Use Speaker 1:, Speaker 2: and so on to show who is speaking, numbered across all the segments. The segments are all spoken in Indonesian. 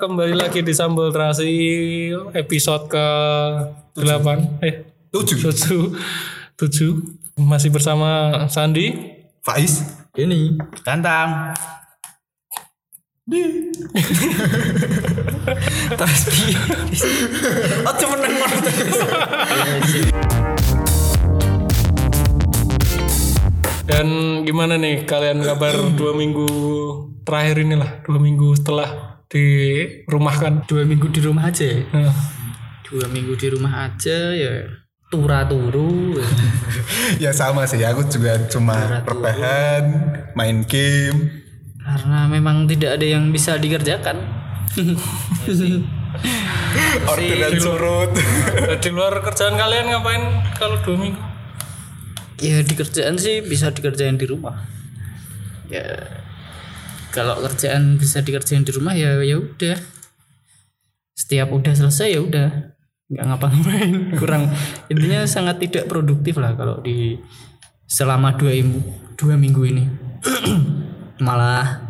Speaker 1: Kembali lagi di Sambal Terasi episode ke 8 eh
Speaker 2: Tujuh.
Speaker 1: 7 7 masih bersama Sandi.
Speaker 2: Faiz. Ini. Tantang. Di. Tapi. Oh menang
Speaker 1: Dan gimana nih kalian kabar dua minggu terakhir inilah dua minggu setelah dirumahkan.
Speaker 3: dua minggu di rumah aja ya?
Speaker 1: Nah,
Speaker 3: dua minggu di rumah aja ya tura turu
Speaker 2: Ya sama sih. Aku juga cuma perbahan, main game.
Speaker 3: karena memang tidak ada yang bisa dikerjakan
Speaker 2: Orderan surut.
Speaker 1: di luar kerjaan kalian ngapain kalau dua minggu?
Speaker 3: ya di kerjaan sih bisa dikerjain di rumah ya kalau kerjaan bisa dikerjain di rumah ya ya udah setiap udah selesai ya udah nggak ngapa-ngapain kurang intinya sangat tidak produktif lah kalau di selama dua minggu dua minggu ini malah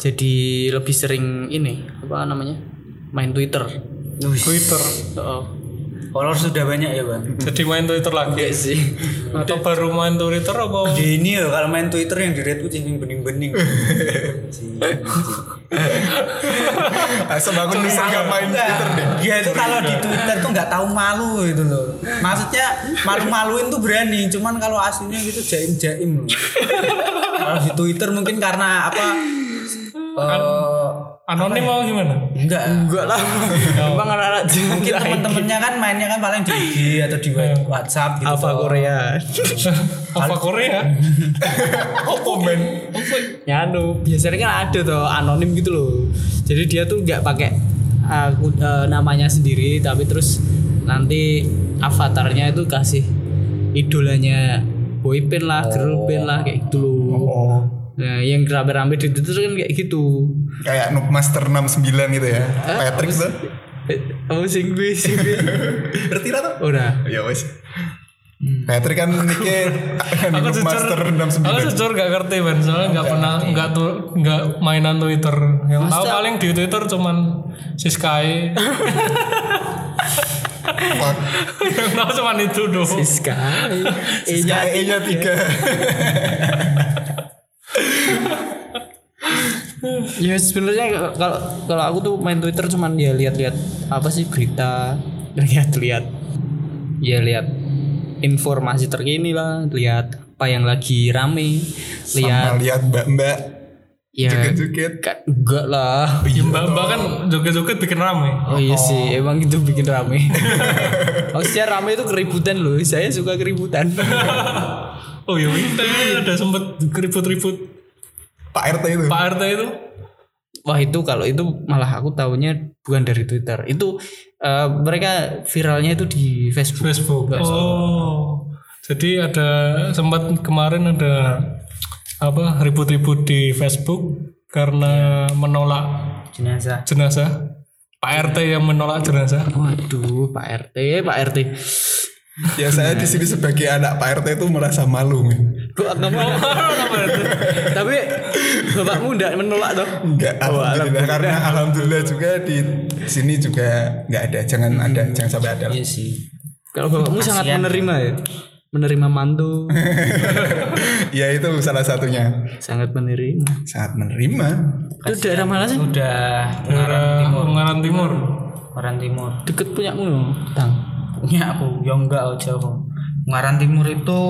Speaker 3: jadi lebih sering ini apa namanya main Twitter
Speaker 1: Twitter.
Speaker 3: oh
Speaker 4: Follower sudah banyak ya bang.
Speaker 1: Jadi main Twitter lagi.
Speaker 3: enggak sih
Speaker 1: Atau baru main Twitter apa?
Speaker 4: Di ini ya kalau main Twitter yang di retweet yang bening-bening. Si-
Speaker 2: Asal aku nih nggak Ah, main
Speaker 1: Iya.
Speaker 2: Twitter deh.
Speaker 4: Dia Iya, itu kalau di Twitter tuh nggak tahu malu itu loh. Maksudnya malu-maluin tuh berani, cuman kalau aslinya gitu jaim-jaim loh. Kalau di Twitter mungkin karena apa? eh,
Speaker 1: Anonim mau gimana?
Speaker 4: enggak. Enggak lah.
Speaker 3: Emang anak-anak
Speaker 4: Mungkin temen-temennya kan mainnya kan paling di IG atau di
Speaker 2: Hmm.
Speaker 4: WhatsApp gitu.
Speaker 3: Alpha
Speaker 4: toh.
Speaker 3: Korea
Speaker 1: Apa Korea?
Speaker 2: Apa men?
Speaker 3: ya anu biasanya kan ada tuh anonim gitu loh jadi dia tuh nggak pakai aku namanya sendiri tapi terus nanti avatarnya itu kasih idolanya boyband lah girlband lah kayak gitu loh
Speaker 2: Oh.
Speaker 3: nah yang rame-rame di Twitter kan kayak gitu
Speaker 2: Kayak Noob Master 69 gitu ya. Patrick tuh.
Speaker 3: Eh, kamu sing gue sing gue
Speaker 2: Ngerti lah tuh.
Speaker 3: udah
Speaker 2: Ya wes. Patrick kan niknya
Speaker 1: Hmm. aku
Speaker 2: Noob
Speaker 1: jujur
Speaker 2: Master
Speaker 1: aku
Speaker 2: 69.
Speaker 1: jujur gak ngerti ben soalnya nggak pernah nggak tuh nggak mainan Twitter yang tahu paling di Twitter cuman si Sky
Speaker 2: Fuck.
Speaker 1: yang tahu cuman itu doh
Speaker 3: Siska Eh,
Speaker 2: Sky nya tiga.
Speaker 3: ya sebenarnya kalau kalau aku tuh main Twitter cuman ya lihat-lihat apa sih berita lihat-lihat ya lihat informasi terkini lah lihat apa yang lagi rame
Speaker 2: Sama
Speaker 3: lihat
Speaker 2: lihat mbak-mbak
Speaker 3: ya
Speaker 2: joget-joget.
Speaker 3: ka- enggak lah
Speaker 1: ya mbak mbak kan joget-joget bikin rame
Speaker 3: oh iya sih emang itu bikin rame maksudnya rame itu keributan loh saya suka keributan
Speaker 1: oh ya itu ada sempet keriput-ribut
Speaker 2: Pak RT itu.
Speaker 1: Pak RT itu
Speaker 3: wah itu kalau itu malah aku tahunya bukan dari Twitter itu eh, mereka viralnya itu di Facebook
Speaker 1: Facebook oh jadi ada sempat kemarin ada apa ribut-ribut di Facebook karena menolak
Speaker 4: Jenazah.
Speaker 1: jenazah Pak RT yang menolak jenazah
Speaker 3: Waduh, Pak RT, Pak RT.
Speaker 2: Ya saya di sini sebagai anak Pak RT itu merasa malu. men.
Speaker 3: Kok kamu Tapi bapakmu enggak menolak toh?
Speaker 2: Enggak alhamdulillah karena alhamdulillah juga di sini juga nggak ada. Jangan ada, jangan sampai ada.
Speaker 4: Iya sih.
Speaker 3: Kalau bapakmu sangat menerima ya. Menerima mantu,
Speaker 2: ya itu salah satunya.
Speaker 3: sangat menerima.
Speaker 2: Sangat menerima.
Speaker 3: Itu daerah mana sih?
Speaker 4: Udah
Speaker 1: daerah Ungaran Timur
Speaker 4: orang timur.
Speaker 3: Deket ya? punyamu loh, Tang.
Speaker 4: punya aku ya enggak oh, jauh Ungaran Timur itu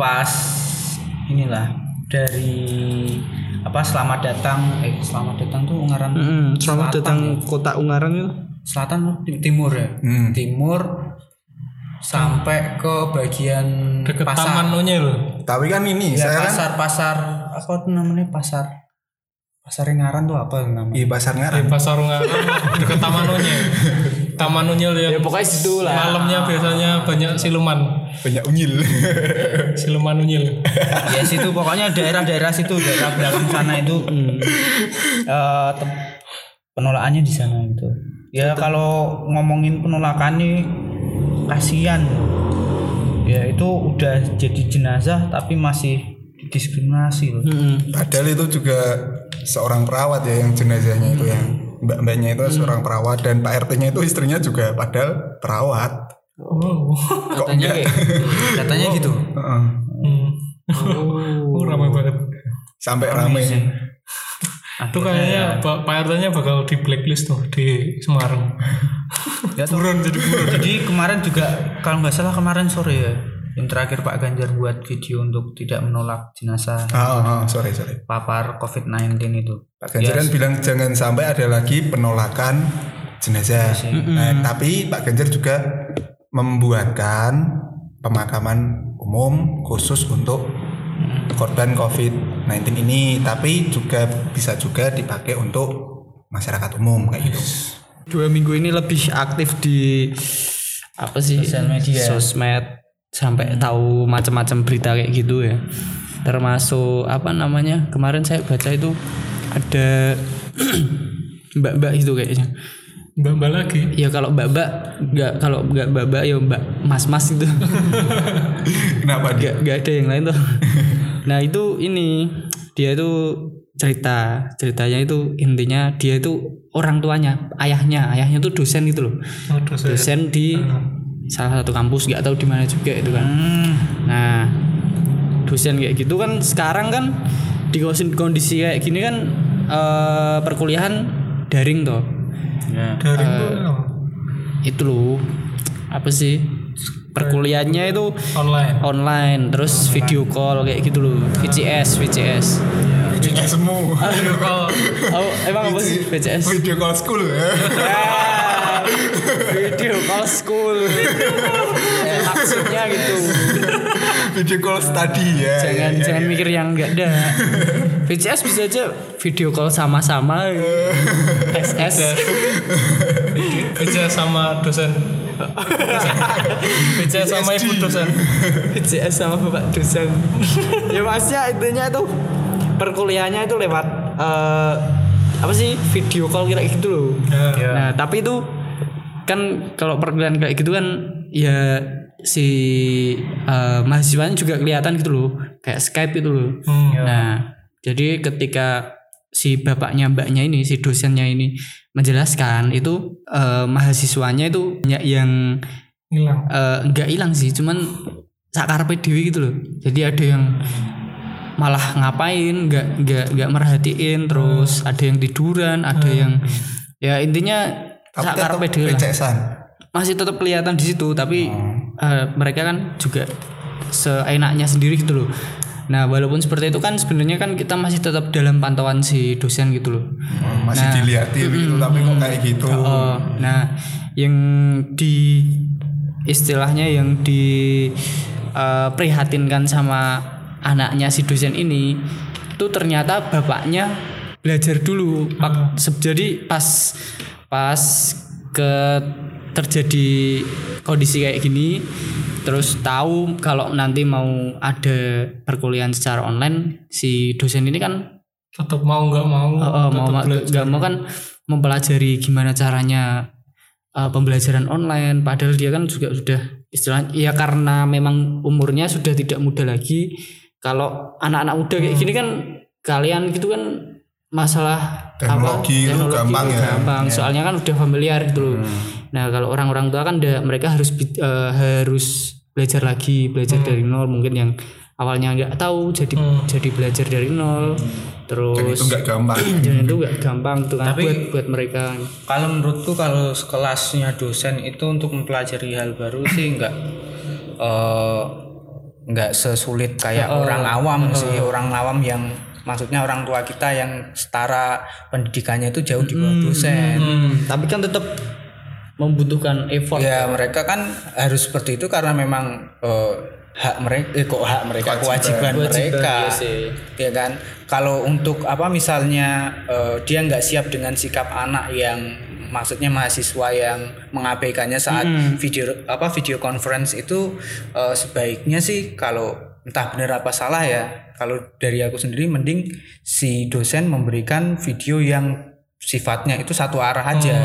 Speaker 4: pas inilah dari apa selamat datang eh selamat datang tuh Ungaran ya?
Speaker 3: Mm-mm, selamat datang Hmm, kota Ungaran itu.
Speaker 4: selatan loh, tim- timur ya
Speaker 2: Hmm.
Speaker 4: timur sampai ke bagian
Speaker 1: deket
Speaker 4: pasar
Speaker 1: Taman Unyil
Speaker 2: Tapi kan ini
Speaker 4: Ya,
Speaker 2: saya kan
Speaker 4: pasar pasar apa tuh namanya pasar pasar Ungaran tuh apa namanya
Speaker 2: di pasar
Speaker 1: di
Speaker 2: ngaran.
Speaker 1: pasar Ungaran deket Taman Unyil Taman Unyil yang
Speaker 3: Ya, Pokoknya situ lah.
Speaker 1: malamnya biasanya banyak siluman
Speaker 2: Banyak unyil.
Speaker 1: siluman Unyil
Speaker 4: ya situ pokoknya daerah-daerah situ daerah belakang sana itu eh, tem- penolakannya di sana gitu ya kalau ngomongin penolakan nih kasihan ya itu udah jadi jenazah tapi masih diskriminasi loh
Speaker 3: Mm-mm.
Speaker 2: Padahal itu juga seorang perawat ya yang jenazahnya itu yang mbak-mbaknya itu seorang perawat dan Pak RT-nya itu istrinya juga padahal perawat.
Speaker 1: Oh.
Speaker 2: Kok
Speaker 3: katanya
Speaker 2: enggak?
Speaker 3: kayak
Speaker 4: katanya gitu
Speaker 2: Heeh.
Speaker 1: Hmm. Oh, ramai banget.
Speaker 2: Sampai rame.
Speaker 1: Itu
Speaker 3: ya.
Speaker 1: kayaknya Pak Pak RT-nya bakal di blacklist tuh di Semarang.
Speaker 4: turun jadi jadi kemarin juga kalau nggak salah kemarin sore ya yang terakhir Pak Ganjar buat video untuk tidak menolak jenazah
Speaker 2: Ah, ah, ah, sorry, sorry.
Speaker 4: papar COVID-19 itu
Speaker 2: Pak Ganjar kan bilang jangan sampai ada lagi penolakan jenazah.
Speaker 3: Iya
Speaker 2: Nah, tapi Pak Ganjar juga membuatkan pemakaman umum khusus untuk korban COVID-19 ini, tapi juga bisa juga dipakai untuk masyarakat umum kayak gitu.
Speaker 3: dua minggu ini lebih aktif di apa sih
Speaker 4: Sosial media.
Speaker 3: sosmed sampai tahu macam-macam berita kayak gitu ya termasuk apa namanya kemarin saya baca itu ada mbak-mbak itu kayaknya
Speaker 1: Mbak-mbak lagi.
Speaker 3: ya kalau mbak-mbak nggak kalau nggak mbak-mbak ya mbak mas-mas itu
Speaker 2: Kenapa dia?
Speaker 3: nggak nggak ada yang lain tuh nah itu ini dia itu cerita ceritanya itu intinya dia itu orang tuanya ayahnya ayahnya tuh dosen gitu loh
Speaker 1: Waduh, saya-
Speaker 3: dosen di salah satu kampus nggak tahu di mana juga itu kan
Speaker 2: Hmm.
Speaker 3: nah dosen kayak gitu kan sekarang kan di kondisi, kondisi kayak gini kan eh, perkuliahan daring toh Nah,
Speaker 1: Dari
Speaker 3: eh.
Speaker 1: itu
Speaker 3: itu loh apa sih perkuliahannya itu
Speaker 1: online.
Speaker 3: online terus video call kayak gitu loh VCS VCS
Speaker 2: Video semua.
Speaker 3: oh emang Ah, apa sih VCS
Speaker 2: Video call school ya.
Speaker 3: Ah, video call school Eh, maksudnya gitu
Speaker 2: Video call study ya.
Speaker 3: jangan jangan mikir yang enggak ada VCS bisa aja video call sama-sama SS
Speaker 1: Kerja sama dosen. Kerja sama ibu dosen.
Speaker 3: VCS sama bapak dosen ya maksudnya intinya itu perkuliahannya itu lewat eh, apa sih video call kira gitu loh
Speaker 1: Ya.
Speaker 3: Nah, tapi itu kan kalau perkuliahan kayak gitu kan ya si eh, mahasiswanya juga kelihatan gitu loh, kayak Skype itu loh.
Speaker 1: Hmm.
Speaker 3: Nah, jadi ketika si bapaknya mbaknya ini, si dosennya ini menjelaskan itu eh, mahasiswanya itu banyak yang
Speaker 1: Hilang.
Speaker 3: eh, nggak hilang sih, cuman sakarpe dewi gitu loh. Jadi ada yang malah ngapain, nggak nggak nggak merhatiin, terus ada yang tiduran, ada yang ya intinya
Speaker 2: Tapi tetap
Speaker 3: sakarpe dewi lah.
Speaker 2: pecesan.
Speaker 3: Masih tetap kelihatan di situ, tapi eh, mereka kan juga seenaknya sendiri gitu loh. Nah, walaupun seperti itu kan sebenarnya kan kita masih tetap dalam pantauan si dosen gitu loh.
Speaker 2: Hmm,
Speaker 1: Nah.
Speaker 2: Masih dilihatin gitu tapi kok kayak gitu.
Speaker 3: Oh, nah yang di istilahnya yang di eh, prihatinkan sama anaknya si dosen ini itu ternyata bapaknya belajar dulu. Pak, se- jadi pas pas ke terjadi kondisi kayak gini terus tahu kalau nanti mau ada perkuliahan secara online si dosen ini kan
Speaker 1: Tetap mau nggak mau.
Speaker 3: Oh, oh, mau
Speaker 1: tetap
Speaker 3: ma-
Speaker 1: belajar.
Speaker 3: nggak mau kan mempelajari gimana caranya uh, pembelajaran online padahal dia kan juga sudah istilahnya ya karena memang umurnya sudah tidak muda lagi kalau anak-anak muda kayak gini kan kalian gitu kan masalah apa,
Speaker 2: Teknologi itu gampang
Speaker 3: itu
Speaker 2: ya. Hmm.
Speaker 3: gampang. soalnya kan udah familiar gitu loh nah kalau orang-orang tua kan udah- mereka harus bi- eh, harus belajar lagi belajar dari nol mungkin yang awalnya nggak tahu jadi jadi belajar dari nol terus
Speaker 2: Dan itu nggak gampang.
Speaker 3: Jangan itu nggak gampang tuh kan
Speaker 4: Tapi-
Speaker 3: buat buat mereka.
Speaker 4: kalau menurutku kalau sekelasnya dosen itu untuk mempelajari hal baru sih nggak eh, nggak sesulit kayak orang awam sih orang awam yang maksudnya orang tua kita yang setara pendidikannya itu jauh di bawah dosen
Speaker 3: Tapi kan tetap membutuhkan effort.
Speaker 4: Ya mereka kan harus seperti itu karena memang eh, hak mereka eh, kok hak mereka kewajiban, mereka.
Speaker 3: iya sih.
Speaker 4: Ya kan. Kalau untuk apa misalnya eh, dia nggak siap dengan sikap anak yang maksudnya mahasiswa yang mengabaikannya saat video apa video conference itu eh, sebaiknya sih kalau entah benar apa salah ya. Kalau dari aku sendiri mending si dosen memberikan video yang sifatnya itu satu arah aja.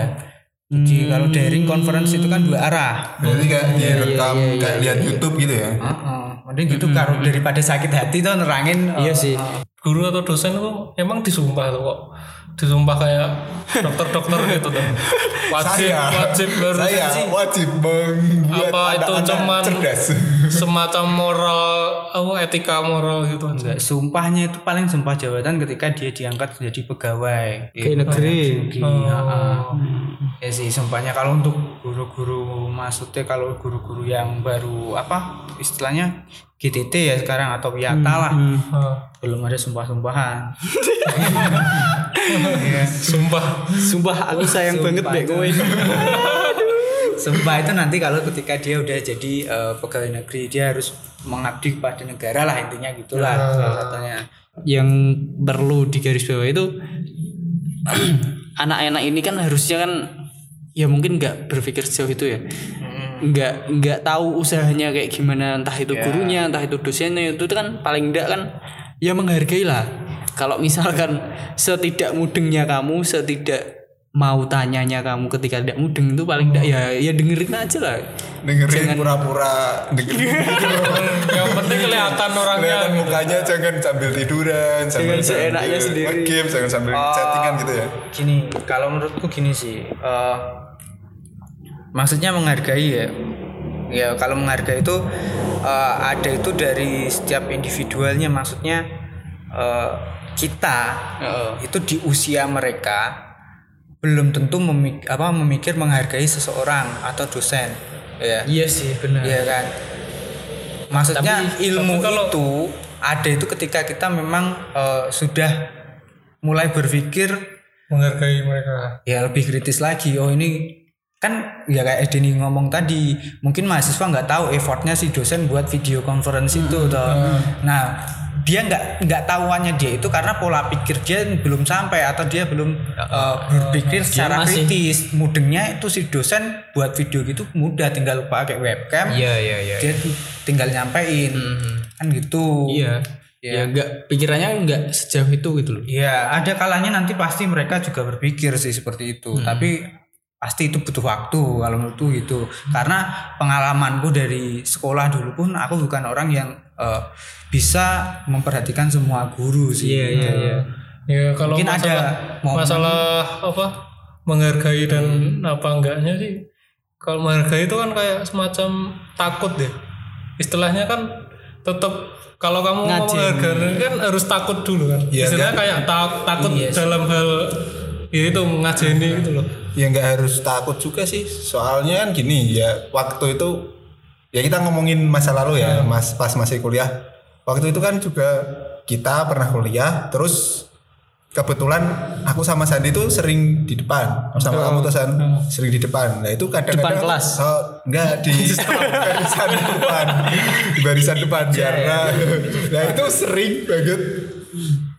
Speaker 4: Jadi kalau daring conference itu kan dua arah.
Speaker 2: Berarti kayak
Speaker 1: Iya,
Speaker 2: direkam kayak lihat YouTube gitu ya.
Speaker 4: Heeh. Mending gitu karo daripada sakit hati tuh nerangin.
Speaker 3: Iya
Speaker 4: eh,
Speaker 3: sih.
Speaker 1: Guru atau dosen kok emang disumpah tuh kok disumpah kayak dokter-dokter gitu tuh. Wajib,
Speaker 2: saya
Speaker 1: wajib harus
Speaker 2: saya wajib membuat
Speaker 1: apa itu
Speaker 2: anak-anak
Speaker 1: cuman
Speaker 2: cerdas
Speaker 1: semacam moral, oh, etika moral gitu aja.
Speaker 4: Enggak, sumpahnya itu paling sumpah jabatan ketika dia diangkat menjadi pegawai Gitu. di
Speaker 5: Ke negeri.
Speaker 4: negeri. Ah, ah. Ya sih sumpahnya kalau untuk guru-guru maksudnya kalau guru-guru yang baru apa istilahnya GTT ya sekarang atau Wiyata lah.
Speaker 2: Hmm.
Speaker 1: Ah,
Speaker 4: Belum ada sumpah-sumpahan.
Speaker 1: Sumpah.
Speaker 5: Sumpah aku sayang banget deh kowe.
Speaker 4: Sumpah itu nanti kalau ketika dia udah jadi eh, pegawai negeri dia harus mengabdi kepada negara lah intinya gitulah salah satunya.
Speaker 3: yang perlu digarisbawahi itu anak-anak ini kan harusnya kan ya mungkin nggak berpikir sejauh itu ya nggak nggak tahu usahanya kayak gimana entah itu gurunya entah itu dosennya itu kan paling enggak kan ya menghargai lah kalau misalkan setidak mudengnya kamu setidak mau tanyanya kamu ketika tidak mudeng itu paling enggak ya ya dengerin aja lah
Speaker 2: dengerin pura-pura dengerin gitu.
Speaker 1: Yang penting kelihatan orangnya.
Speaker 2: kelihatan mukanya jangan sambil tiduran sambil
Speaker 3: Jangan seenaknya
Speaker 2: sambil
Speaker 3: sendiri.
Speaker 2: nge-game, jangan sambil
Speaker 1: Ah.
Speaker 2: chattingan gitu ya
Speaker 4: gini kalau menurutku gini sih eh, maksudnya menghargai ya ya kalau menghargai itu eh, ada itu dari setiap individualnya maksudnya eh, kita itu di usia mereka belum tentu memik apa memikir menghargai seseorang atau dosen ya
Speaker 3: iya sih benar
Speaker 4: Iya kan. Maksudnya
Speaker 3: Tapi-
Speaker 4: ilmu
Speaker 1: tapi kalau-
Speaker 4: itu ada itu ketika kita memang eh, sudah mulai berpikir
Speaker 1: Menghargai mereka.
Speaker 4: ya lebih kritis lagi. Oh ini kan ya kayak Edeni ngomong tadi, mungkin mahasiswa nggak tahu effortnya si dosen buat video conference itu toh. Nah dia nggak nggak tahuannya dia itu karena pola pikir dia belum sampai atau dia belum eh, berpikir secara
Speaker 3: masih-
Speaker 4: kritis mudengnya itu si dosen buat video gitu mudah tinggal pakai webcam
Speaker 5: Iya iya iya.
Speaker 4: dia tuh tinggal nyampein kan gitu
Speaker 5: Iya. Ya enggak pikirannya enggak sejauh itu gitu loh.
Speaker 4: Iya, ada kalanya nanti pasti mereka juga berpikir sih seperti itu tapi pasti itu butuh waktu kalau menurutku gitu karena pengalamanku dari sekolah dulu pun aku bukan orang yang eh, bisa memperhatikan semua guru sih
Speaker 5: Iya iya iya.
Speaker 1: Ya kalau
Speaker 4: mungkin ada
Speaker 1: masalah,
Speaker 4: momen- Hmm.
Speaker 1: masalah apa menghargai dan apa enggaknya sih. Kalau menghargai itu kan kayak semacam takut deh. Istilahnya kan tetap kalau kamu mau menghargai kan harus takut dulu kan.
Speaker 2: Iya,
Speaker 1: Istilahnya kayak ta- takut
Speaker 4: Iya
Speaker 1: dalam hal ya itu ngajeni gitu loh.
Speaker 2: ya nggak harus takut juga sih soalnya kan gini ya waktu itu ya kita ngomongin masa lalu ya
Speaker 5: Hmm.
Speaker 2: mas pas masih kuliah waktu itu kan juga kita pernah kuliah terus kebetulan aku sama Sandi itu sering di depan sama kamu tuh San sering di depan nah itu
Speaker 5: Hmm.
Speaker 2: kadang-kadang
Speaker 5: Depan kelas?
Speaker 2: oh, enggak di barisan depan di barisan depan
Speaker 5: Iya,
Speaker 2: karena nah itu sering banget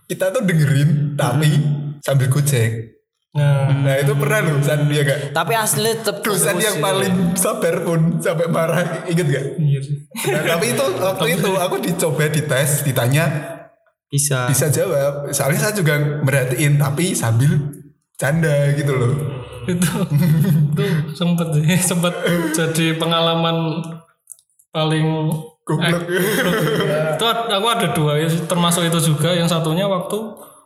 Speaker 2: kita tuh dengerin tapi
Speaker 5: Hmm.
Speaker 2: sambil gojek
Speaker 1: Nah,
Speaker 2: Nah itu pernah loh San ya gak?
Speaker 3: tapi asli tetap
Speaker 2: Dosen yang paling sabar pun sampai marah inget gak?
Speaker 1: iya sih.
Speaker 2: Nah, tapi itu waktu itu aku dicoba dites ditanya
Speaker 5: Bisa.
Speaker 2: bisa jawab soalnya saya juga merhatiin tapi sambil canda gitu loh
Speaker 1: itu itu sempet sih sempet jadi pengalaman paling
Speaker 2: goblok
Speaker 1: itu ad- aku ada dua ya termasuk itu juga yang satunya waktu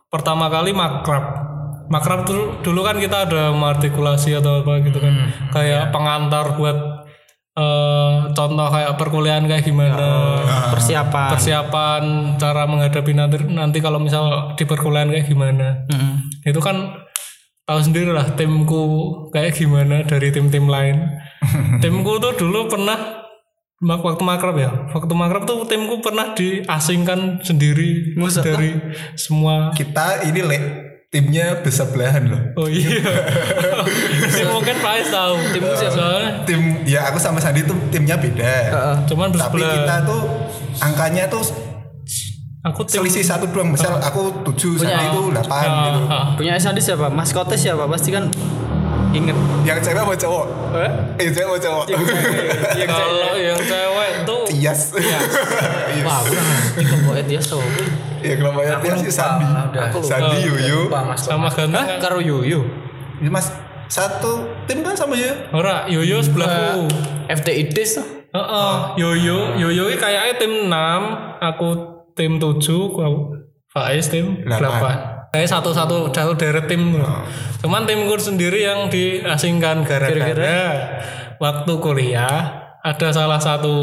Speaker 1: pertama kali makrab makrab dulu, dulu kan kita ada artikulasi atau apa gitu kan kayak pengantar buat eh, contoh kayak perkuliahan kayak gimana
Speaker 5: Persiapan.
Speaker 1: persiapan cara menghadapi nanti nanti kalau misal di perkuliahan kayak gimana itu kan tahu sendiri lah timku kayak gimana dari tim-tim lain timku tuh dulu pernah mak- waktu makrab ya waktu makrab tuh timku pernah diasingkan sendiri dari semua
Speaker 2: kita ini le timnya bersebelahan loh
Speaker 1: oh iya Tim mungkin Faiz tahu timku
Speaker 2: Iya.
Speaker 1: soalnya
Speaker 2: tim ya aku sama Sandi tuh timnya beda
Speaker 1: cuman
Speaker 2: tapi kita
Speaker 1: bersebelah
Speaker 2: tuh angkanya tuh
Speaker 1: aku tim
Speaker 2: selisih satu doang misal aku tujuh Sandi itu delapan gitu
Speaker 1: Ah,
Speaker 5: Punya Sandi siapa? Maskotnya siapa? Pasti kan inget.
Speaker 2: yang cewek mau cowok eh cewek mau cowok
Speaker 1: Iya, kalau yang cewek tuh
Speaker 2: Tias.
Speaker 1: Iya.
Speaker 2: Yes.
Speaker 5: Wah, kok dia so.
Speaker 2: Ya kelompoknya Tias sih Sandi. Sandi Yuyu.
Speaker 1: Iya, sama ganteng
Speaker 5: Karo Yuyu.
Speaker 2: Ini Mas satu tim kan sama ya?
Speaker 1: ora yoyo sebelahku
Speaker 5: FTID so.
Speaker 1: Heeh, Yoyo, Yoyo iki kayaknya tim 6, aku tim 7, aku Faiz tim 8.
Speaker 2: Delapan.
Speaker 1: saya satu-satu satu deret tim tuh. cuman timku sendiri yang diasingkan gara-gara waktu kuliah ada salah satu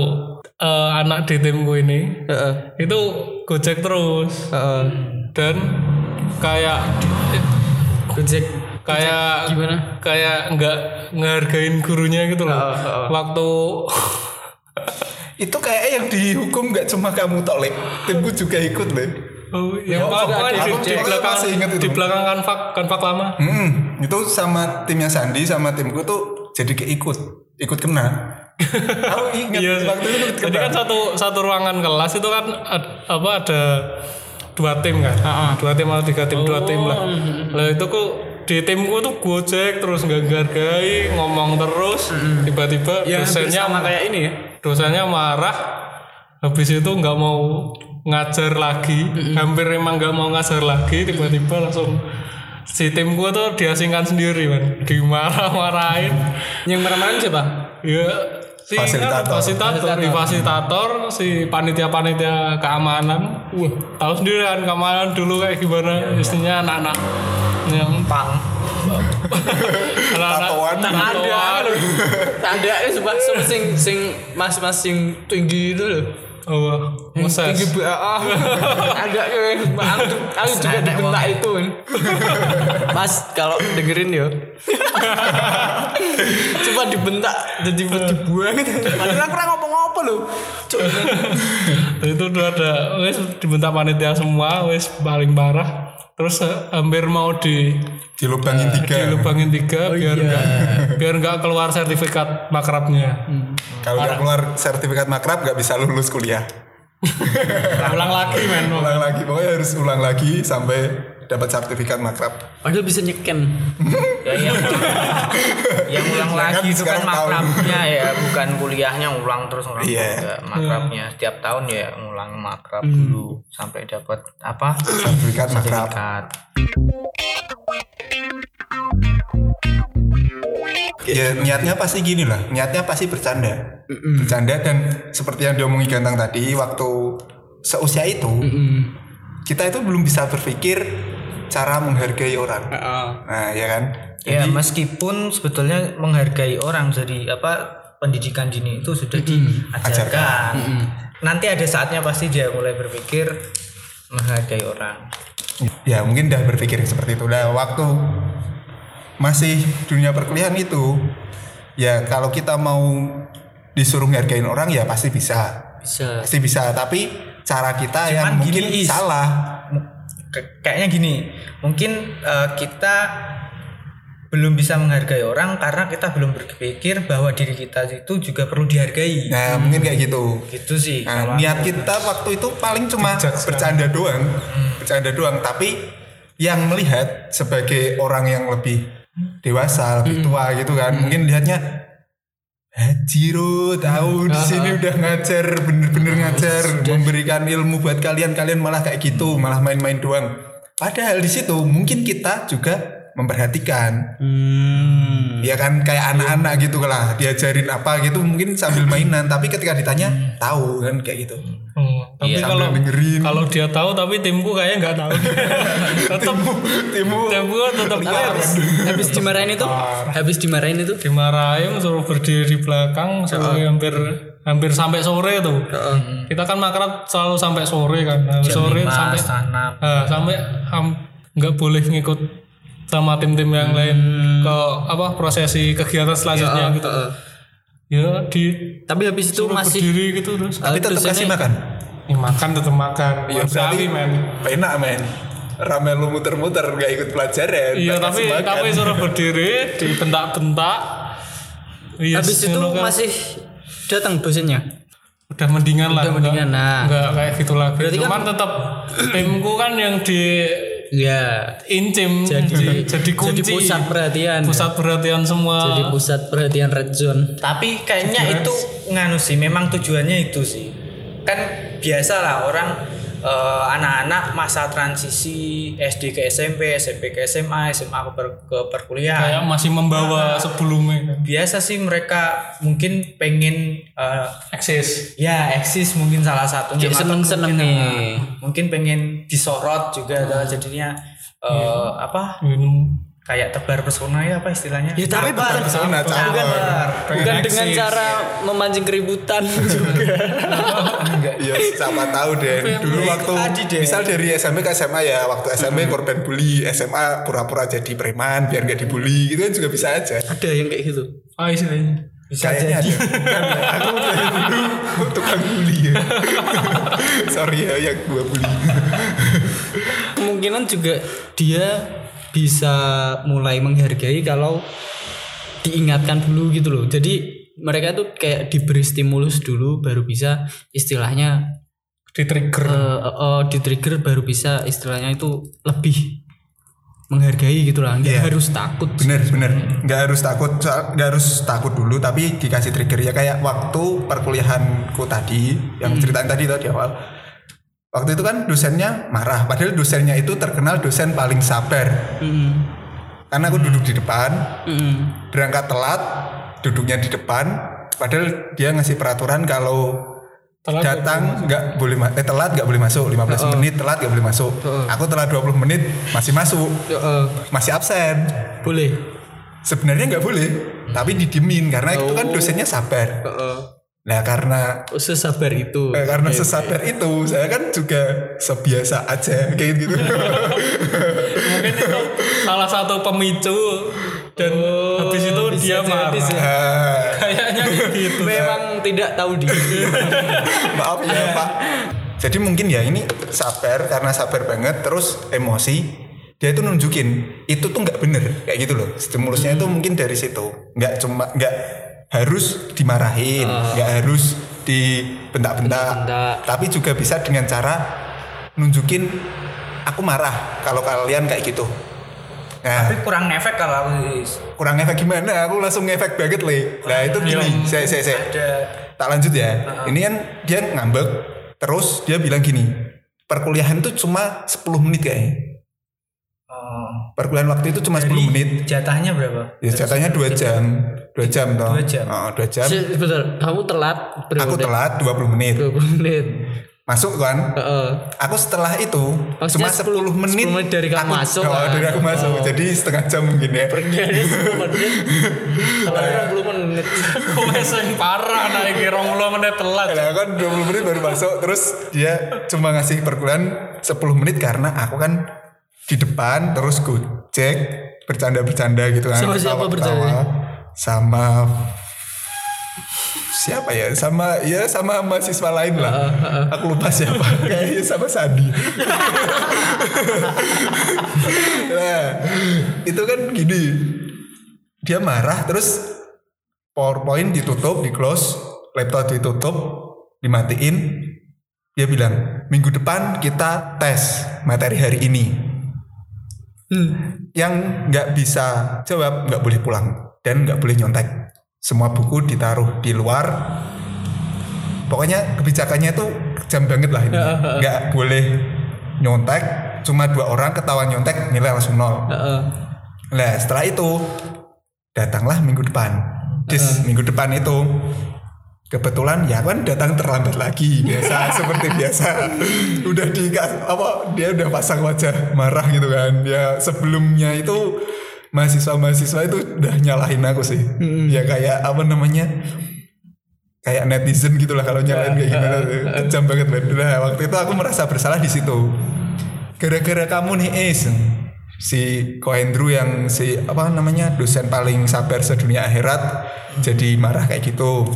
Speaker 1: eh, anak di timku ini
Speaker 5: Heeh.
Speaker 1: itu gojek terus
Speaker 5: Heeh.
Speaker 1: dan kayak
Speaker 5: Gojek
Speaker 1: kayak
Speaker 3: gimana?
Speaker 1: kayak nggak ngehargain gurunya gitu
Speaker 2: Oh,
Speaker 1: loh waktu
Speaker 2: Itu kayaknya yang dihukum gak cuma kamu tok, Lek. Timku juga ikut, Lek.
Speaker 1: Oh, yang
Speaker 2: Ya,
Speaker 1: pokoknya
Speaker 2: ada-
Speaker 1: di,
Speaker 2: aku-
Speaker 1: di
Speaker 2: aku
Speaker 1: belakang
Speaker 2: masih ingat itu.
Speaker 1: di belakang kanvak kanvak lama
Speaker 2: Hmm, itu sama timnya Sandi sama timku tuh jadi keikut, ikut kena. Aku ingat
Speaker 1: Iya.
Speaker 2: waktu itu ikut
Speaker 1: Jadi
Speaker 2: kena.
Speaker 1: kan satu satu ruangan kelas itu kan ad- apa ada dua tim kan?
Speaker 5: Ah,
Speaker 1: Dua tim atau tiga tim, dua tim
Speaker 5: Oh,
Speaker 1: lah.
Speaker 5: hmm,
Speaker 1: Lah itu kok di timku tuh gojek terus nggak hargai, ngomong terus,
Speaker 5: Hmm,
Speaker 1: tiba-tiba dosennya
Speaker 5: kayak ini ya.
Speaker 1: dosennya marah. Habis itu nggak mau ngajar lagi,
Speaker 5: Hmm,
Speaker 1: hampir emang nggak mau ngajar lagi, tiba-tiba langsung si tim gua tuh diasingkan sendiri kan, dimarah-marahin.
Speaker 5: Yang merah-merah siapa?
Speaker 1: Iya. Si
Speaker 2: Fasilitator.
Speaker 1: fasilitator. fasilitator, di fasilitator, si panitia-panitia keamanan. Wah, tahu sendiri kan keamanan dulu kayak gimana istrinya anak-anak yang Iya, pang. anak-anak
Speaker 2: Tatoan.
Speaker 1: tatoan.
Speaker 5: Tak ada ya sebab sebab sing sing mas-mas sing tinggi itu loh.
Speaker 1: Oh, wah, ngeses.
Speaker 5: Tinggi BAA.
Speaker 2: ah,
Speaker 5: ada ya. Aku, aku juga dibentak itu. Mas kalau dengerin yo. Coba dibentak jadi dibuang gitu. Padahal aku ora ngomong-ngomong loh.
Speaker 1: Nah, itu udah ada wes dibentak panitia semua, wes paling parah. Terus eh, hampir mau di
Speaker 2: dilubangin
Speaker 1: Eh,
Speaker 2: tiga.
Speaker 1: dilubangin tiga biar nggak biar nggak keluar sertifikat makrabnya.
Speaker 2: Kalau udah keluar sertifikat makrab gak bisa lulus kuliah.
Speaker 1: Ulang lagi men.
Speaker 2: Ulang lagi pokoknya harus ulang lagi sampai dapat sertifikat makrab.
Speaker 3: Padahal bisa nyeken.
Speaker 4: Ya, yang ulang
Speaker 2: Kan
Speaker 4: lagi itu kan
Speaker 2: sekarang tahu.
Speaker 4: makrabnya ya bukan kuliahnya ulang terus ulang
Speaker 2: Iya.
Speaker 4: juga. makrabnya setiap tahun ya ngulang makrab dulu sampai dapat apa
Speaker 2: Sertifikat makrab.
Speaker 4: sertifikat
Speaker 2: Ya niatnya pasti gini lah, niatnya pasti bercanda, bercanda dan seperti yang diomongi Gantang tadi waktu seusia itu kita itu belum bisa berpikir cara menghargai orang. Nah ya kan,
Speaker 4: ya meskipun sebetulnya menghargai orang dari apa pendidikan dini itu sudah diajarkan nanti ada saatnya pasti dia mulai berpikir menghargai orang
Speaker 2: ya mungkin udah berpikir seperti itu. Nah waktu masih dunia perkuliahan itu, ya kalau kita mau disuruh menghargain orang ya pasti bisa,
Speaker 3: Bisa.
Speaker 2: pasti bisa. Tapi cara kita yang
Speaker 4: Cuman
Speaker 2: mungkin
Speaker 4: gini, Is.
Speaker 2: salah.
Speaker 4: Ke- kayaknya gini mungkin eh, kita belum bisa menghargai orang karena kita belum berpikir bahwa diri kita itu juga perlu dihargai
Speaker 2: Nah mungkin kayak gitu.
Speaker 4: gitu sih
Speaker 2: Nah,
Speaker 4: kalau-
Speaker 2: niat kita waktu itu paling cuma bercanda doang, bercanda doang. Tapi yang melihat sebagai orang yang lebih dewasa, lebih tua gitu kan, mungkin lihatnya Haji Ro, tahu di sini udah ngajar, bener-bener ngajar, memberikan ilmu buat kalian, kalian malah kayak gitu, malah main-main doang. Padahal di situ mungkin kita juga memperhatikan, ya kan kayak anak-anak gitu lah, diajarin apa gitu mungkin sambil mainan, tapi ketika ditanya tahu kan kayak gitu.
Speaker 1: Hmm, tapi
Speaker 2: Sambil
Speaker 1: kalau
Speaker 2: dengerin.
Speaker 1: kalau dia tahu tapi timku kayaknya nggak tahu. tetap
Speaker 2: Timu
Speaker 1: timku kan tetap
Speaker 3: habis, habis dimarahin itu, habis dimarahin itu.
Speaker 1: dimarahin suruh berdiri di belakang suruh hampir hampir sampai sore tuh. Kita kan makrab selalu sampai sore kan. Nah, sore sampai
Speaker 4: tanam
Speaker 1: eh, sampai ham- nggak boleh ngikut sama tim-tim yang lain ke apa prosesi kegiatan selanjutnya gitu. Ya di
Speaker 3: Tapi habis itu masih
Speaker 1: berdiri gitu terus. Oh,
Speaker 2: tapi tetap kasih makan.
Speaker 1: Ih, makan tetap makan.
Speaker 2: Iya,
Speaker 1: Manusiawi, Iya, men.
Speaker 2: Enak men. Rame lu muter-muter gak ikut pelajaran.
Speaker 1: Iya
Speaker 2: tak
Speaker 1: tapi
Speaker 2: kasih makan.
Speaker 1: tapi suruh berdiri dibentak-bentak. Iya,
Speaker 3: habis itu
Speaker 1: ngono kan.
Speaker 3: masih datang dosennya.
Speaker 1: udah mendingan lah. Udah
Speaker 3: mendingan, nah. kan
Speaker 1: Enggak kayak gitu lagi. Cuman tetap timku kan yang diincim
Speaker 3: Iya.
Speaker 1: jadi jadi kunci
Speaker 3: Jadi pusat perhatian. ya.
Speaker 1: pusat perhatian semua.
Speaker 3: Jadi pusat perhatian red zone.
Speaker 4: tapi kayaknya itu nganu sih memang tujuannya itu sih kan biasalah orang eh, anak-anak masa transisi SD ke SMP SMP ke SMA SMA ke, per- ke perkuliahan
Speaker 1: kayak masih
Speaker 3: Nah.
Speaker 1: membawa sebelumnya kan.
Speaker 4: biasa sih mereka mungkin pengen eh,
Speaker 1: Eksis.
Speaker 4: ya eksis mungkin salah
Speaker 3: Jadi
Speaker 4: satunya atau
Speaker 3: seneng-seneng
Speaker 4: mungkin,
Speaker 3: nih.
Speaker 4: eh, mungkin pengen disorot juga atau jadinya eh, apa
Speaker 1: minum
Speaker 4: kayak tebar pesona ya apa istilahnya?
Speaker 5: Ya tapi bukan,
Speaker 2: Pesona campur.
Speaker 1: Pengen
Speaker 5: bukan dengan
Speaker 1: eksis.
Speaker 5: cara memancing keributan juga.
Speaker 2: Ya siapa tahu deh. Dulu waktu misal dari SMP ke SMA ya, waktu
Speaker 1: Mm-hmm.
Speaker 2: SMP korban bully, SMA pura-pura jadi preman biar gak dibully gitu kan juga bisa aja.
Speaker 5: Ada yang kayak gitu.
Speaker 1: ah istilahnya
Speaker 2: Bisa Kayaknya jadi. Aku dari dulu tukang bully ya. Sorry ya yang gua bully.
Speaker 5: Kemungkinan juga dia bisa mulai menghargai kalau diingatkan dulu gitu loh. Jadi mereka tuh kayak diberi stimulus dulu baru bisa istilahnya
Speaker 1: di trigger
Speaker 5: Eh, di trigger baru bisa istilahnya itu lebih menghargai gitu lah. Nggak
Speaker 2: Iya.
Speaker 5: harus takut.
Speaker 2: Bener bener. Nggak harus takut, soal- nggak harus takut dulu. Tapi dikasih trigger ya kayak waktu perkuliahanku tadi yang ceritain tadi tuh di awal. Waktu itu kan dosennya marah. Padahal dosennya itu terkenal dosen paling sabar. Karena aku duduk di depan, berangkat telat, duduknya di depan. Padahal dia ngasih peraturan kalau
Speaker 1: Telat
Speaker 2: datang nggak boleh ma- eh, telat nggak boleh masuk 15 menit telat nggak boleh masuk aku telat 20 menit masih masuk
Speaker 5: Heeh,
Speaker 2: masih absen
Speaker 5: eh, boleh.
Speaker 2: sebenarnya nggak boleh tapi didimin karena itu kan dosennya sabar
Speaker 5: Heeh.
Speaker 2: nah karena
Speaker 5: Oh, sesabar itu.
Speaker 2: eh, karena sesabar itu saya kan juga sebiasa aja kayak gitu
Speaker 1: mungkin itu salah satu pemicu dan
Speaker 3: Oh,
Speaker 1: habis
Speaker 5: Oh,
Speaker 1: itu dia marah
Speaker 2: Ah,
Speaker 1: kayaknya gitu
Speaker 5: Memang tidak tahu
Speaker 2: Iya.
Speaker 5: diri.
Speaker 2: maaf ya pak jadi mungkin ya ini sabar karena sabar banget terus emosi dia itu nunjukin itu tuh nggak bener kayak gitu loh stimulusnya itu mungkin dari situ nggak cuma nggak harus dimarahin nggak harus dibentak-bentak
Speaker 5: Bentak-bentak.
Speaker 2: tapi juga bisa dengan cara nunjukin aku marah kalau kalian kayak gitu nah
Speaker 4: Tapi kurang efek kalau aku-
Speaker 2: kurang efek gimana aku langsung ngefek banget le nah itu
Speaker 5: Iya.
Speaker 2: gini saya saya saya tak lanjut ya ini kan dia ngambek terus dia bilang gini perkuliahan itu cuma 10 menit kayaknya
Speaker 4: Oh,
Speaker 2: perkuliahan waktu itu cuma 10 menit
Speaker 4: jatahnya berapa?
Speaker 2: ya jatahnya 2 jam 2 jam toh
Speaker 4: Dua jam.
Speaker 2: Oh, dua jam
Speaker 5: Betul, kamu telat berapa
Speaker 2: aku
Speaker 5: menit?
Speaker 2: telat 20 menit
Speaker 5: 20 menit.
Speaker 2: masuk kan
Speaker 5: Heeh.
Speaker 2: aku setelah itu
Speaker 5: Maksudnya
Speaker 2: cuma 10 menit
Speaker 5: 10 menit dari kamu
Speaker 2: aku-
Speaker 5: masuk,
Speaker 2: oh,
Speaker 5: kan?
Speaker 2: dari aku masuk jadi setengah jam mungkin ya
Speaker 5: Dari 10 menit. Kalau 20 menit.
Speaker 1: Kowe sing parah naik rong puluh menit telat
Speaker 2: Nah, kan 20 menit baru masuk terus dia cuma ngasih perkuliahan 10 menit karena aku kan di depan terus gojek bercanda-bercanda gitu kan.
Speaker 5: Sama siapa
Speaker 2: ketawa-ketawa.
Speaker 5: bercandanya?
Speaker 2: Sama siapa ya? Sama ya sama mahasiswa lain lah. Aku lupa siapa. Kayaknya sama Sandi. nah, itu kan gini. Dia marah terus PowerPoint ditutup, di close, laptop ditutup, dimatiin. Dia bilang, minggu depan kita tes materi hari ini. Yang nggak bisa jawab nggak boleh pulang dan nggak boleh nyontek. Semua buku ditaruh di luar. Pokoknya kebijakannya itu jam banget lah ini. Nggak boleh nyontek. Cuma dua orang ketahuan nyontek nilai langsung nol.
Speaker 5: Heeh.
Speaker 2: Nah setelah itu datanglah minggu depan. Dis minggu depan itu kebetulan ya kan datang terlambat lagi biasa seperti biasa. Udah di apa dia udah pasang wajah marah gitu kan. Ya sebelumnya itu mahasiswa-mahasiswa itu udah nyalahin aku sih. Ya kayak apa namanya? kayak netizen gitulah kalau nyalain kayak gimana tuh. kejam banget banget nah waktu itu aku merasa bersalah di situ gara-gara kamu nih Es si Kohendru yang si apa namanya dosen paling sabar sedunia akhirat jadi marah kayak gitu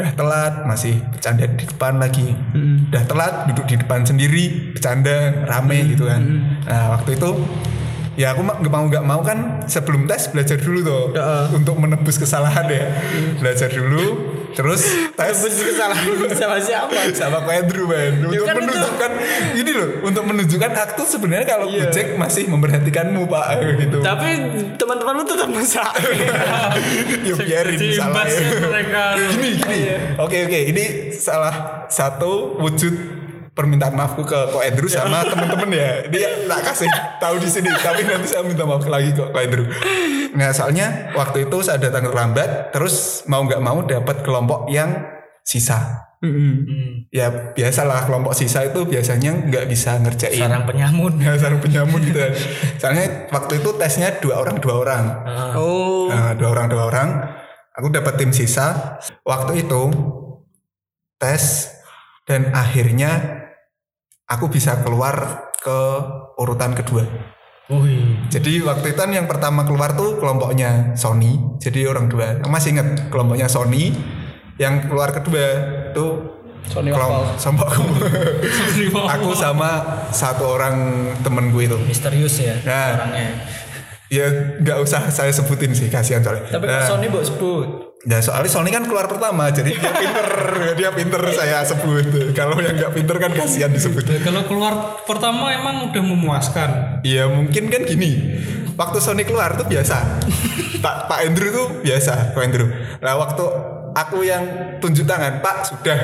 Speaker 2: udah telat masih bercanda di depan lagi udah telat duduk di depan sendiri bercanda rame gitu kan nah waktu itu ya aku ma- mau nggak mau kan sebelum tes belajar dulu tuh untuk menebus kesalahan ya belajar dulu terus tes
Speaker 5: Kesalahan sama Ya kan siapa?
Speaker 2: sama kayak Drew man untuk menunjukkan ini loh untuk menunjukkan aku tuh sebenarnya kalau Gojek masih memperhatikanmu pak gitu
Speaker 5: Iya. Tapi teman-temanmu tetap masak.
Speaker 2: ya biarin salah
Speaker 1: diimbas
Speaker 2: ya.
Speaker 1: mereka
Speaker 2: gini gini oke oke ini salah satu wujud permintaan maafku ke Ko Andrew sama temen-temen ya dia tak kasih tahu di sini tapi nanti saya minta maaf lagi ke Ko Andrew nah soalnya waktu itu saya datang terlambat terus mau nggak mau dapat kelompok yang sisa ya biasalah kelompok sisa itu biasanya nggak bisa ngerjain
Speaker 4: sarang penyamun
Speaker 2: Ya, sarang penyamun gitu kan. Soalnya waktu itu tesnya dua orang dua orang,
Speaker 5: Oh.
Speaker 2: Nah, dua orang dua orang. Aku dapat tim sisa. Waktu itu tes dan akhirnya aku bisa keluar ke urutan kedua. Jadi waktu itu kan yang pertama keluar tuh kelompoknya Sony. Jadi orang dua. Aku Masih inget kelompoknya Sony. Yang keluar kedua tuh
Speaker 4: Sony
Speaker 2: kelom- kelompokku. aku sama satu orang temen gue itu
Speaker 4: misterius ya
Speaker 2: Nah.
Speaker 4: orangnya
Speaker 2: ya nggak usah saya sebutin sih kasihan soalnya
Speaker 4: tapi
Speaker 2: nah,
Speaker 4: kalau Sony buat sebut
Speaker 2: nah, soalnya Sony kan keluar pertama jadi dia pinter dia pinter saya sebut kalau yang nggak pinter kan kasihan disebut
Speaker 1: Kalau keluar pertama emang udah memuaskan.
Speaker 2: Iya mungkin kan gini waktu Sony keluar tuh biasa Pak Pak Andrew tuh biasa Pak Andrew nah waktu aku yang tunjuk tangan Pak sudah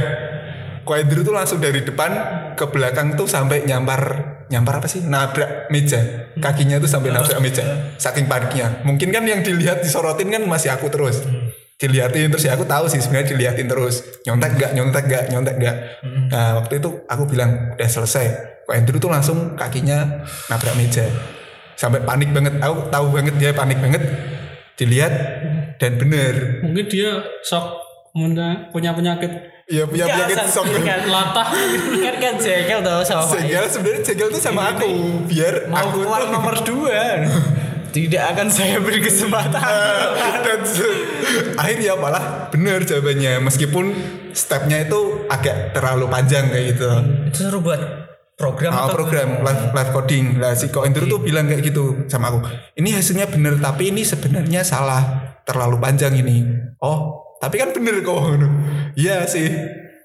Speaker 2: Ko Andrew tuh langsung dari depan ke belakang tuh sampai nyampar nyampar apa sih nabrak meja kakinya tuh sampai nabrak meja saking paniknya mungkin kan yang dilihat disorotin kan masih aku terus dilihatin terus ya aku tahu sih sebenarnya dilihatin terus nyontek gak nyontek gak nyontek gak nah waktu itu aku bilang udah selesai Ko Andrew tuh langsung kakinya nabrak meja sampai panik banget aku tahu banget dia panik banget dilihat dan bener
Speaker 1: Mungkin dia shock punya punya penyakit
Speaker 2: Iya punya penyakit shock
Speaker 1: latah.
Speaker 4: kan kan jengkel tau sama
Speaker 2: Segel sebenarnya segel tuh sama aku biar
Speaker 4: mau
Speaker 2: aku
Speaker 4: keluar
Speaker 2: tuh
Speaker 4: nomor dua tidak akan saya beri kesempatan
Speaker 2: dan se- akhirnya malah bener jawabannya meskipun stepnya itu agak terlalu panjang kayak gitu.
Speaker 4: itu seru buat program
Speaker 2: Ah,
Speaker 4: atau Iya.
Speaker 2: program live, live coding lah si Ko Endro tuh bilang kayak gitu sama aku ini hasilnya bener tapi ini sebenarnya salah terlalu panjang ini oh tapi kan bener kok iya sih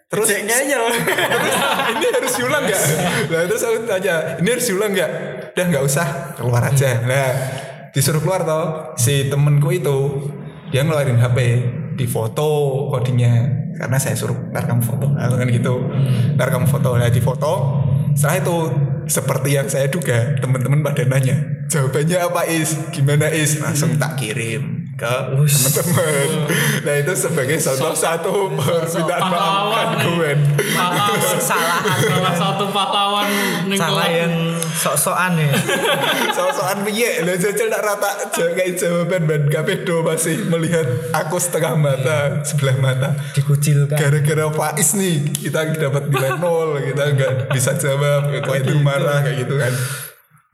Speaker 2: terus
Speaker 4: aja loh
Speaker 2: terus ini harus diulang nggak? Nah, terus aku tanya, ini harus diulang nggak? Udah nggak usah, keluar aja. Nah, disuruh keluar toh si temenku itu dia ngeluarin HP di foto codingnya karena saya suruh ntar kamu foto Nah, kan gitu ntar kamu foto nah di foto setelah itu seperti yang saya duga teman-teman pada nanya jawabannya apa is gimana is langsung tak kirim ke teman-teman nah itu sebagai contoh satu permintaan kan, maafkan gue
Speaker 1: Pahlawan.
Speaker 4: Kesalahan.
Speaker 1: Salah satu pahlawan ning
Speaker 4: salah
Speaker 1: kelas.
Speaker 4: ya. yang sok-sokan ya
Speaker 2: Soal-soal piye Lah jajal tak rata Jangan jawaban Ben Kapedo masih melihat Aku setengah mata Sebelah mata
Speaker 4: dikucilkan
Speaker 2: Gara-gara Faiz nih Kita dapat nilai nol Kita nggak bisa jawab Kok itu marah Kayak gitu kan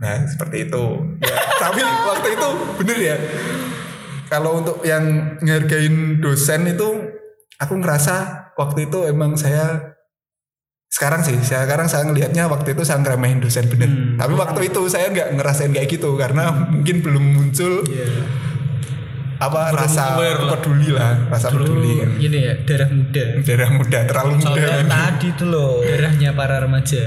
Speaker 2: Nah seperti itu Ya, Tapi waktu itu Bener ya Kalau untuk yang Ngehargain dosen itu Aku ngerasa Waktu itu emang saya sekarang sih saya sekarang saya ngelihatnya waktu itu saya ngeremehin dosen bener tapi waktu itu saya nggak ngerasain kayak gitu karena mungkin belum muncul apa rasa peduli Iya. lah rasa peduli kan.
Speaker 5: Ini ya darah muda.
Speaker 2: darah muda terlalu muda
Speaker 4: Soalnya tadi tuh loh
Speaker 5: Darahnya para remaja.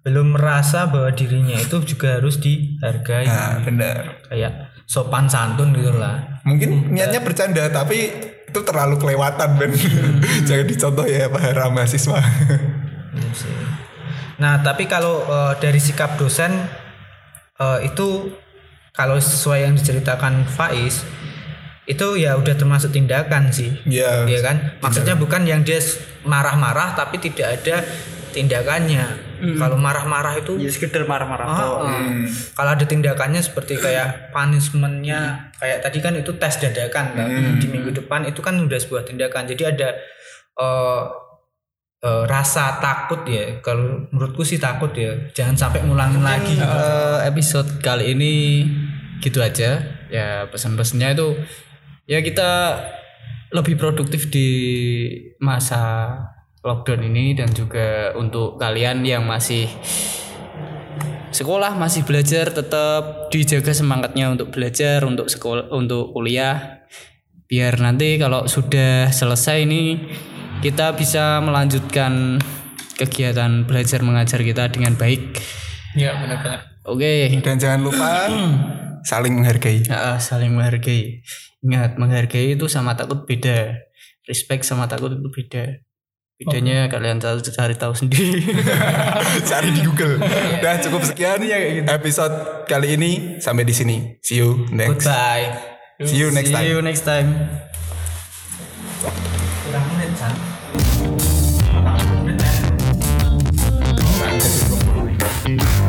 Speaker 4: belum merasa bahwa dirinya itu juga harus dihargai
Speaker 2: nah bener
Speaker 4: kayak sopan santun gitu lah
Speaker 2: mungkin niatnya bercanda tapi itu terlalu kelewatan Ben jangan dicontoh ya para mahasiswa
Speaker 4: Iya sih. nah tapi kalau eh, dari sikap dosen eh, itu kalau sesuai yang diceritakan Faiz itu ya udah termasuk tindakan sih
Speaker 2: ya
Speaker 4: Iya kan? Maksudnya bukan yang dia s- marah-marah tapi tidak ada tindakannya. Kalau marah-marah itu
Speaker 5: Ya sekedar marah-marah.
Speaker 4: Ah, ah. kalau ada tindakannya seperti kayak punishmentnya kayak tadi kan itu tes dadakan kan? di minggu depan itu kan udah sebuah tindakan. Jadi ada eh, eh, rasa takut ya. Kalau menurutku sih takut ya. Jangan sampai ngulangin lagi. Gitu.
Speaker 5: Eh, episode kali ini gitu aja ya pesan-pesannya itu ya kita lebih produktif di masa lockdown ini dan juga untuk kalian yang masih sekolah masih belajar tetap dijaga semangatnya untuk belajar untuk sekolah untuk kuliah biar nanti kalau sudah selesai ini kita bisa melanjutkan kegiatan belajar mengajar kita dengan baik
Speaker 1: Iya benar-benar.
Speaker 5: Oke,
Speaker 2: dan jangan lupa saling menghargai
Speaker 5: Ah, ah, saling menghargai. Ingat, menghargai itu sama takut beda. Respect sama takut itu beda.
Speaker 2: Oh.
Speaker 5: Bedanya kalian tahu cari tahu sendiri.
Speaker 2: cari di Google Udah cukup sekian episode kali ini sampai di sini see you next
Speaker 5: Bye.
Speaker 2: see you next time
Speaker 5: See you next time.
Speaker 4: Kurang menit, San.
Speaker 2: Kan jadi belum-